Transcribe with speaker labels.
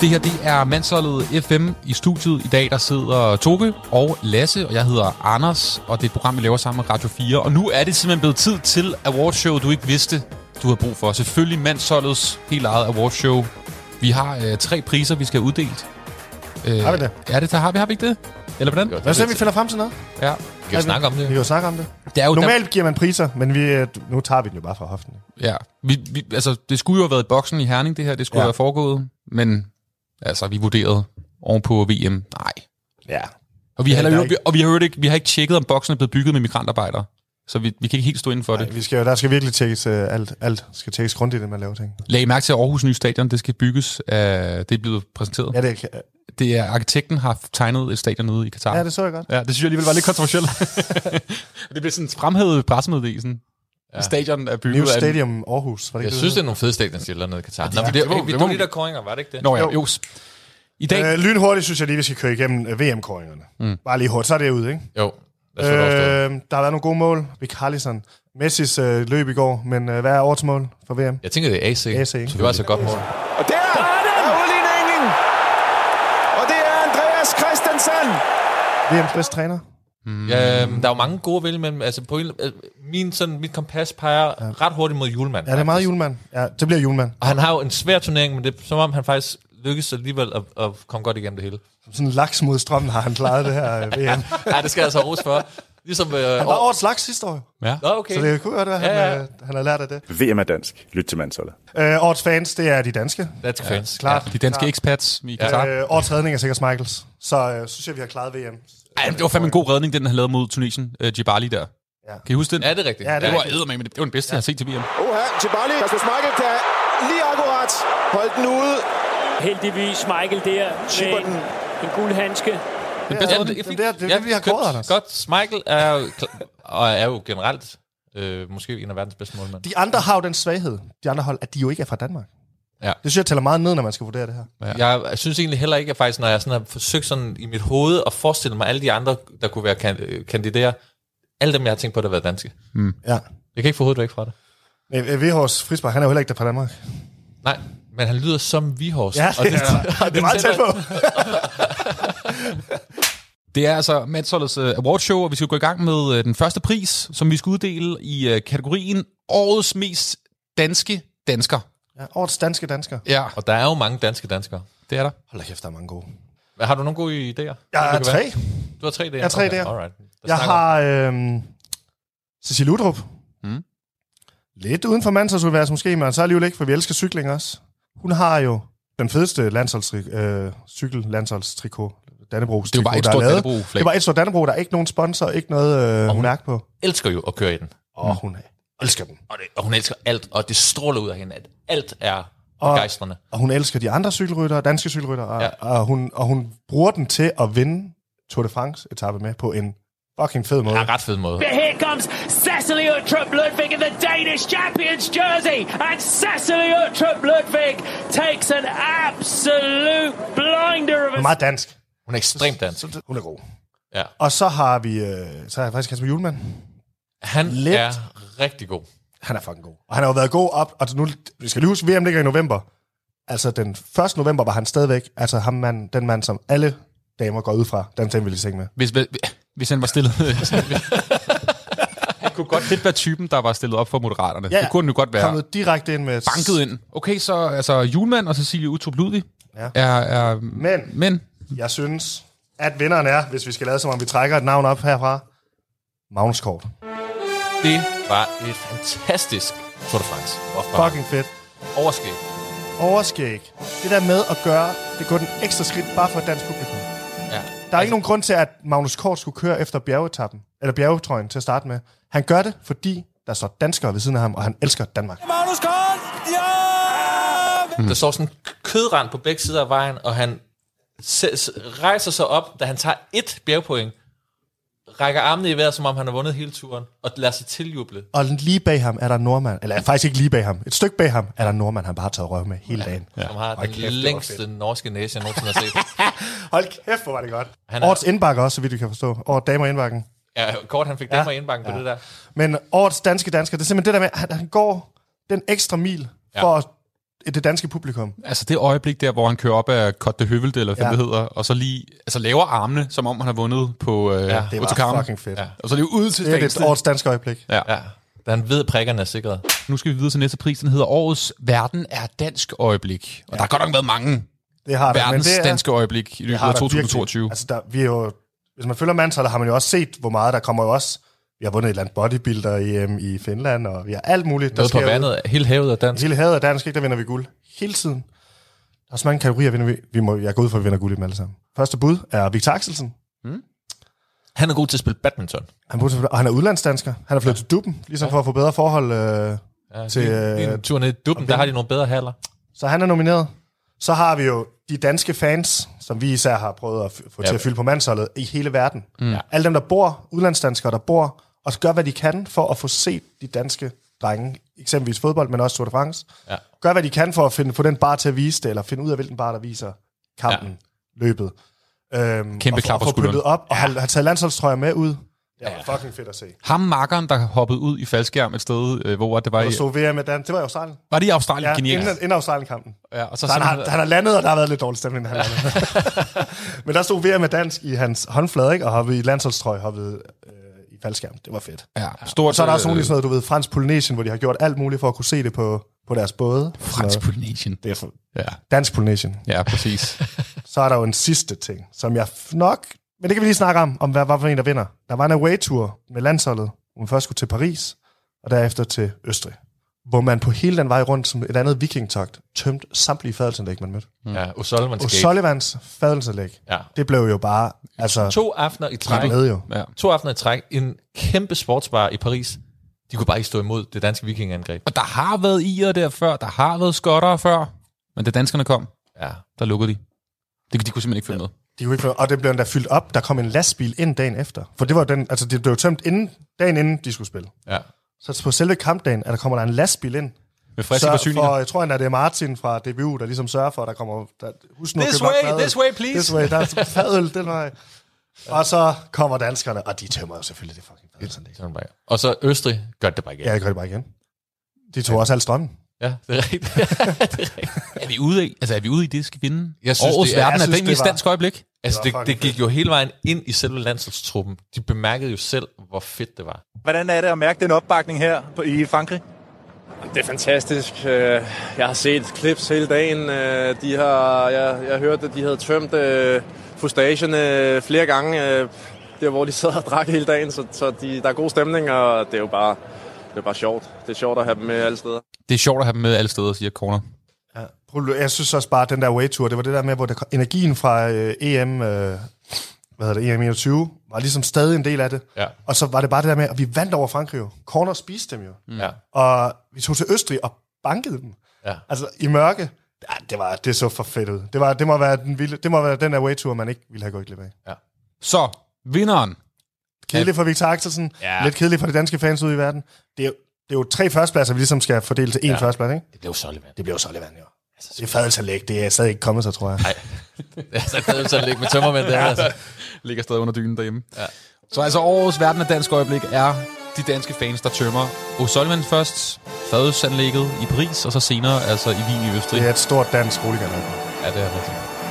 Speaker 1: Det her, det er Mandsholdet FM i studiet. I dag, der sidder Toge og Lasse, og jeg hedder Anders, og det er et program, vi laver sammen med Radio 4. Og nu er det simpelthen blevet tid til awardshowet, du ikke vidste, du har brug for. Selvfølgelig Mandsholdets helt eget awardshow. Vi har øh, tre priser, vi skal have uddelt. Øh,
Speaker 2: Har vi det?
Speaker 1: Ja, det har vi. Har vi ikke det? Eller hvordan?
Speaker 2: Lad os se, om vi finder frem til noget.
Speaker 1: Ja. Vi kan jo snakke om
Speaker 2: Vi
Speaker 1: det.
Speaker 2: kan jo snakke om det.
Speaker 1: det er jo
Speaker 2: Normalt giver man priser, men vi, øh, nu tager vi den jo bare fra hoften.
Speaker 1: Ja, vi, vi, altså, det skulle jo have været i boksen i Herning, det her. Det skulle ja.
Speaker 2: Ja.
Speaker 1: have foregået. Men altså, vi vurderede ovenpå VM. Nej.
Speaker 2: Ja.
Speaker 1: Og vi,
Speaker 2: Ja,
Speaker 1: har,
Speaker 2: der
Speaker 1: heller,
Speaker 2: er
Speaker 1: vi,
Speaker 2: ikke-
Speaker 1: og vi, har, hørt ikke, vi har ikke tjekket, om boksen er blevet bygget med migrantarbejdere. Så vi, vi kan ikke helt stå inden for
Speaker 2: Nej,
Speaker 1: det.
Speaker 2: vi skal jo, der skal virkelig tjekkes øh, alt. Alt skal tjekkes grundigt, når man laver ting.
Speaker 1: Læg I mærke til at Aarhus nye stadion, det skal bygges. af, det er blevet præsenteret. Ja.
Speaker 2: Ja, det, kan-
Speaker 1: Det er, arkitekten har tegnet et stadion ude i Katar.
Speaker 2: ja, det så jeg godt.
Speaker 1: Ja, det synes jeg alligevel var lidt kontroversielt. det blev sådan fremhævet i pressemeddelelsen. Ja. Stadion er bygget
Speaker 2: New
Speaker 1: af... en-
Speaker 2: Stadium Aarhus. Var det
Speaker 3: Jeg
Speaker 2: ikke,
Speaker 3: synes, det er nogle fede stadions, de lavede nede i Katar. Nå, men det,
Speaker 1: det må- det
Speaker 3: det, vi
Speaker 1: må
Speaker 3: det var
Speaker 1: vi-
Speaker 3: lige der koringer, var det ikke det?
Speaker 1: Nå ja, jo.
Speaker 2: Jo.
Speaker 1: jo. I dag...
Speaker 2: Øh, lynhurtigt synes jeg lige, vi skal køre igennem øh, VM-koringerne. Mm. Bare lige hurtigt, så er det ude, ikke?
Speaker 3: Jo, lad os få det overstået.
Speaker 2: Øh, der har været nogle gode mål. Vikarlison. Messis øh, løb i går, men øh, hvad er årets mål for VM?
Speaker 3: Øh, Jeg tænker, det er AC.
Speaker 2: AC, ikke?
Speaker 3: Det var altså et godt mål.
Speaker 4: Og der, der er, er udligningen. Og det er Andreas Christensen.
Speaker 2: VM's bedste træner?
Speaker 3: Øhm, der er jo mange gode at vælge, men altså på en, øh, min, sådan, mit kompas peger ret hurtigt mod julemand.
Speaker 2: Ja, det er meget julemand. Ja, det bliver julemand.
Speaker 3: Og han har jo en svær turnering, men det er som om, han faktisk lykkes alligevel at, at komme godt igennem det hele.
Speaker 2: Sådan laks mod strømmen har han klaret det her øh, VM.
Speaker 3: Nej, det skal jeg altså have ros for. Ligesom... Øh,
Speaker 2: Han var årets laks sidste år.
Speaker 1: Ja.
Speaker 3: Nå, okay.
Speaker 2: Så det kunne godt være, at han,
Speaker 3: Ja, ja.
Speaker 2: øh, han har lært af det.
Speaker 5: VM er dansk. Lyt til mandsholdet.
Speaker 2: Øh, årets fans, det er de danske.
Speaker 3: That's fans.
Speaker 2: Klart.
Speaker 1: De danske expats i Katar.
Speaker 2: Øh, årets redning er sikkert Michaels. Så øh, synes jeg, vi har klaret VM.
Speaker 1: Ej, det var fandme en god redning, den han lavede mod Tunisien. Øh, Djibali der.
Speaker 2: Ja.
Speaker 1: Kan I huske den?
Speaker 3: Ja, det er rigtigt.
Speaker 2: Ja, det er
Speaker 1: det var ædermame, men det var den bedste, jeg har set til VM.
Speaker 4: Oha, Djibali. Rasmus Michael kan lige akkurat holde den ude.
Speaker 6: Heldigvis Michael der
Speaker 4: Chipper
Speaker 6: med en,
Speaker 4: den.
Speaker 6: en guldhandske.
Speaker 1: Den bedste
Speaker 3: Jamen,
Speaker 1: redning.
Speaker 3: er fint.
Speaker 2: det er- det er det, vi har
Speaker 3: købt-
Speaker 2: kåret, Anders.
Speaker 3: Godt. Michael er jo, kla- og er jo generelt øh, måske en af verdens bedste målmænd.
Speaker 2: De andre har jo den svaghed, de andre hold, at de jo ikke er fra Danmark.
Speaker 3: Ja.
Speaker 2: Det synes jeg tæller meget ned, når man skal vurdere det her.
Speaker 3: Ja. Jeg synes egentlig heller ikke, at faktisk, når jeg sådan har forsøgt sådan i mit hoved at forestille mig alle de andre, der kunne være kan, øh, kandidater, alle dem, jeg har tænkt på, der har været danske.
Speaker 2: Ja.
Speaker 3: Jeg kan ikke få hovedet væk fra det.
Speaker 2: Øh, Vihors Frisberg, han er jo heller ikke der fra Danmark.
Speaker 3: Nej, men han lyder som Vihorst.
Speaker 2: Ja,
Speaker 3: og det, ja.
Speaker 2: Det er meget tæt på.
Speaker 1: Det er altså Madsholdets øh, awardshow, og vi skal gå i gang med øh, den første pris, som vi skal uddele i øh, kategorien Årets mest danske dansker.
Speaker 2: Ja, årets danske dansker.
Speaker 1: Ja,
Speaker 3: Og der er jo mange danske danskere.
Speaker 1: det er der.
Speaker 2: Hold da kæft, der er mange gode.
Speaker 3: Hvad, Har du nogle gode idéer?
Speaker 2: Jeg
Speaker 3: Det
Speaker 2: har
Speaker 3: kan
Speaker 2: tre.
Speaker 3: være. Du har tre idéer?
Speaker 2: Jeg har tre idéer.
Speaker 3: Alright. Der
Speaker 2: Jeg
Speaker 3: snakker-
Speaker 2: har øh, Cecilie Udrup.
Speaker 1: Mm.
Speaker 2: Lidt uden for mandsholdsuniverset måske, men så alligevel ikke, for vi elsker cykling også. Hun har jo den fedeste landsholdsstrik- øh, cykellandsholdstrikot. Dannebro
Speaker 1: Det var et stort Dannebrog-flag.
Speaker 2: Det var et stort Dannebro, der er ikke nogen sponsor, ikke noget øh, hun... mærke på.
Speaker 3: elsker jo at køre i den.
Speaker 2: Og mm. hun elsker den.
Speaker 3: Og, det, og hun elsker alt, og det stråler ud af hende, at alt er
Speaker 2: Og-
Speaker 3: begejstrende.
Speaker 2: Og hun elsker de andre cykelryttere, danske cykelryttere, og,
Speaker 3: Ja.
Speaker 2: ja. og, hun, og hun bruger den til at vinde Tour de France etape med på en fucking fed måde.
Speaker 3: Det er en ret fed måde.
Speaker 6: Here comes Cecily Utrup Ludwig in the Danish champions jersey, and Cecily Utrup Ludwig takes an absolute blinder of
Speaker 2: Hun er
Speaker 6: a
Speaker 2: meget dansk.
Speaker 3: Hun er ekstremt dansk.
Speaker 2: Hun er god.
Speaker 3: Ja.
Speaker 2: Og så har vi øh, så har jeg faktisk Kasper Julemand.
Speaker 3: Han
Speaker 2: Lidt.
Speaker 3: er rigtig god.
Speaker 2: Han er fucking god. Og han har jo været god op, og nu, vi skal lige huske, VM ligger i november. Altså den 1. november var han stadigvæk, altså ham mand, den mand, som alle damer går ud fra, den tænker vi lige seng med.
Speaker 1: Hvis, hvis, hvis han var stillet... han kunne godt lidt være typen, der var stillet op for Moderaterne. Ja,
Speaker 2: Ja,
Speaker 1: det kunne han jo godt være.
Speaker 2: Kommet direkte ind med...
Speaker 1: banket ind. Okay, så altså Julemand og Cecilie Utrup Ludvig ja.
Speaker 2: Ja.
Speaker 1: er, er
Speaker 2: Men
Speaker 1: mænd.
Speaker 2: jeg synes, at vinderen er, hvis vi skal lade som om vi trækker et navn op herfra, Magnus Kort.
Speaker 3: Det var et fantastisk Tour de France. Fuck.
Speaker 2: Fucking fedt.
Speaker 3: Overskæg.
Speaker 2: Overskæg. Det der med at gøre, det går den ekstra skridt bare for et dansk publikum.
Speaker 3: Ja.
Speaker 2: Der er ikke nogen grund til, at Magnus Kort skulle køre efter bjergetappen, eller bjergetrøjen til at starte med. Han gør det, fordi der står danskere ved siden af ham, og han elsker Danmark.
Speaker 4: Magnus Kort. Ja!
Speaker 3: Der står sådan en kødrand på begge sider af vejen, og han se- se- rejser sig op, da han tager et bjergpoint, rækker armene i vejret, som om han har vundet hele turen, og lader sig tiljuble.
Speaker 2: Og lige bag ham er der en nordmand, eller faktisk ikke lige bag ham, et stykke bag ham er der en nordmand, han bare har taget røv med hele dagen.
Speaker 3: Ja. Som har
Speaker 2: Hold
Speaker 3: den
Speaker 2: kæft, det var
Speaker 3: længste norske næse, jeg nogensinde har set.
Speaker 2: Hold kæft, hvor var det godt.
Speaker 3: Han
Speaker 2: Han
Speaker 3: er-
Speaker 2: er... Årets indbakker også, så vidt vi kan forstå. Årets damer indbakken.
Speaker 3: Ja, kort, han fik ja. damer indbank på ja. det der.
Speaker 2: Men årets danske dansker, det er simpelthen det der med, at han går den ekstra mil
Speaker 3: Ja.
Speaker 2: for at det danske publikum.
Speaker 1: Altså det øjeblik der, hvor han kører op af Côte de Høvelte, eller hvad
Speaker 2: Ja.
Speaker 1: ja. det hedder, og så lige altså, laver armene, som om han har vundet på øh, ja,
Speaker 2: Det var fucking fedt. Ja.
Speaker 1: Og så lige ud til
Speaker 2: Det er
Speaker 1: det,
Speaker 2: et årets dansk øjeblik.
Speaker 1: ja.
Speaker 3: Ja. Da han ved, at prikkerne er sikret.
Speaker 1: Nu skal vi videre til næste pris. Den hedder Årets Verden er Dansk Øjeblik. Og ja. der har godt nok været mange
Speaker 2: Det har der, men
Speaker 1: verdens
Speaker 2: det er,
Speaker 1: danske øjeblik i løbet
Speaker 2: har
Speaker 1: af
Speaker 2: der
Speaker 1: 2022.
Speaker 2: Virkelig, altså, der, vi er jo, hvis man følger mandsholdet, har man jo også set, hvor meget der kommer jo også. Vi har vundet et eller andet bodybuilder EM i Finland, og vi har alt muligt.
Speaker 3: Noget på
Speaker 2: sker
Speaker 3: vandet. Hele havet er
Speaker 2: ude.
Speaker 3: dansk.
Speaker 2: Hele havet er dansk, ikke? Der vinder vi guld. Hele tiden. Der er så mange kategorier, vinder vi, vi må, jeg går ud for, at vi vinder guld i dem alle sammen. Første bud er Victor Axelsen.
Speaker 3: Han er god til at spille badminton.
Speaker 2: Han bor, til- og han er udlandsdansker. Han er flyttet ja. til Dubben, ligesom ja. for at få bedre forhold. Øh.
Speaker 3: Ja,
Speaker 2: Til,
Speaker 3: til, lige, lige
Speaker 2: øh,
Speaker 3: en tur ned i dubben, der har de nogle bedre haller.
Speaker 2: Så han er nomineret. Så har vi jo de danske fans, som vi især har prøvet at f- få ja. til at fylde på mandsholdet i hele verden. Mm. Alle dem, der bor, udlandsdanskere, der bor, og gør, hvad de kan for at få set de danske drenge, eksempelvis fodbold, men også Tour de France.
Speaker 3: Ja.
Speaker 2: Gør, hvad de kan for at finde, få den bar til at vise det, eller finde ud af, hvilken bar, der viser kampen, ja. løbet. Øhm,
Speaker 1: Kæmpe
Speaker 2: og få-
Speaker 1: klap på
Speaker 2: og få
Speaker 1: skulderen.
Speaker 2: pyntet op, og har, har taget landsholdstrøjer med ud. Det var fucking fedt at se.
Speaker 1: Ham makkeren, der hoppede ud i faldskærm et sted, øh, hvor det var i...
Speaker 2: Og så VM med Dan, det var i Australien.
Speaker 1: Var det i Australien?
Speaker 2: Ja,
Speaker 1: Genialt.
Speaker 2: inden, inden Australien-kampen.
Speaker 1: Ja, og så
Speaker 2: Så han,
Speaker 1: sådan,
Speaker 2: har, han har landet, og der har været lidt dårlig stemning, da han landede. Men der stod VM med dansk i hans håndflade, ikke? og hoppede i landsholdstrøje, hoppede øh, i faldskærm. Det var fedt.
Speaker 1: ja, stort,
Speaker 2: Og så er der
Speaker 1: øh,
Speaker 2: også nogle i sådan noget, du ved, fransk Polynesien, hvor de har gjort alt muligt for at kunne se det på, på deres både.
Speaker 1: Fransk
Speaker 2: Sådan noget.
Speaker 1: Polynesian.
Speaker 2: det er for,
Speaker 1: Ja,
Speaker 2: dansk Polynesien.
Speaker 1: ja præcis.
Speaker 2: Så er der jo en sidste ting, som jeg f- nok... Men det kan vi lige snakke om, om hvad, hvad for en, der vinder. Der var en away-tour med landsholdet, hvor man først skulle til Paris, og derefter til Østrig. Hvor man på hele den vej rundt, som et andet vikingtogt, tømte samtlige fadelsanlæg, man mødte.
Speaker 3: Ja, O'Sullivan's Gate.
Speaker 2: O'Sullivans fadelsanlæg,
Speaker 3: Ja.
Speaker 2: det blev jo bare, altså,
Speaker 3: To aftener i træk.
Speaker 2: det med jo.
Speaker 1: ja.
Speaker 3: To aftener i træk. En kæmpe sportsbar i Paris. De kunne bare ikke stå imod det danske vikingangreb.
Speaker 1: Og der har været irer der før, der har været skotter før, men da danskerne kom,
Speaker 3: Ja.
Speaker 1: der lukkede de. Det, de kunne simpelthen ikke følge med.
Speaker 2: De kunne ikke, få- og det blev endda fyldt op, der kom en lastbil ind dagen efter. For det var jo den, altså det blev jo tømt inden, dagen inden, de skulle spille.
Speaker 3: ja.
Speaker 2: Så på selve kampdagen, at der kommer der en lastbil ind,
Speaker 1: Med friske
Speaker 2: Så
Speaker 1: forsyninger.
Speaker 2: for, jeg tror endda, det er Martin fra DBU, der ligesom sørger for, at der kommer... Der, husk nu at
Speaker 3: This
Speaker 2: købe nok
Speaker 3: way,
Speaker 2: madøl.
Speaker 3: this way, please.
Speaker 2: This way, der er fadøl den vej. Og så kommer danskerne, og de tømmer jo selvfølgelig det fucking fadølsanlæg.
Speaker 3: Sådan var jeg. Og så Østrig gør det bare igen.
Speaker 2: Ja, jeg gør det bare igen. De tog også al strømmen.
Speaker 3: ja det er rigtigt. det er rigtigt.
Speaker 1: Er vi ude i, altså, er vi ude i det, skal vinde?
Speaker 3: Jeg synes,
Speaker 1: Årets
Speaker 3: det er-
Speaker 1: verden er
Speaker 2: jeg synes,
Speaker 1: den
Speaker 2: det
Speaker 1: mest
Speaker 2: var-
Speaker 1: dansk øjeblik.
Speaker 3: Altså,
Speaker 2: Det
Speaker 3: det,
Speaker 2: var
Speaker 3: det,
Speaker 2: fucking
Speaker 3: gik
Speaker 2: fedt.
Speaker 3: jo hele vejen ind i selve landsholdstruppen. De bemærkede jo selv, hvor fedt det var.
Speaker 5: Hvordan er det at mærke den opbakning her på- i Frankrig?
Speaker 7: Det er fantastisk. Øh, Jeg har set clips hele dagen. Øh, De har, jeg, jeg hørte, at de havde tømt øh, frustagerne flere gange, øh, der hvor de sad og drak hele dagen. Så, så de, der er god stemning, og det er jo bare, det er bare sjovt. Det er sjovt at have dem med alle steder.
Speaker 1: Det er sjovt at have dem med alle steder, siger Corner.
Speaker 2: Prøv- Jeg synes også bare, at den der way-tour, det var det der med, hvor der, kom- energien fra øh, EM... Øh, hvad hedder det, EM 21, var ligesom stadig en del af det.
Speaker 3: Ja.
Speaker 2: Og så var det bare det der med, at vi vandt over Frankrig jo. Corner spiste dem jo.
Speaker 3: Mm. Ja.
Speaker 2: Og vi tog til Østrig og bankede dem.
Speaker 3: Ja.
Speaker 2: Altså, i mørke. Ja, det, var, det så for fedt ud. Det, var, det, må være den vilde, det må være den der way-tour, man ikke ville have gået glip af.
Speaker 1: Så, vinderen.
Speaker 2: Kedeligt for Victor Axelsen.
Speaker 3: Ja.
Speaker 2: Ja. Lidt kedeligt for de danske fans ude i verden. Det er, jo- det er jo tre førstepladser, vi ligesom skal fordele til én ja. førsteplads, ikke?
Speaker 3: Det blev Sullivan.
Speaker 2: Det bliver jo så levant, jo. Altså, Det er fadelsanlæg, det er stadig ikke kommet sig, tror jeg.
Speaker 3: altså, det er sådan lidt med tømmermænd der. Altså.
Speaker 1: Ligger stadig under dynen derhjemme. Ja. Så altså, årets verden af dansk øjeblik er de danske fans, der tømmer O'Sullivan først, Fadelsanlægget i Paris, og så senere altså i Wien i Østrig.
Speaker 2: Det er et stort dansk roliganlæg.
Speaker 3: Ja, det er rigtigt.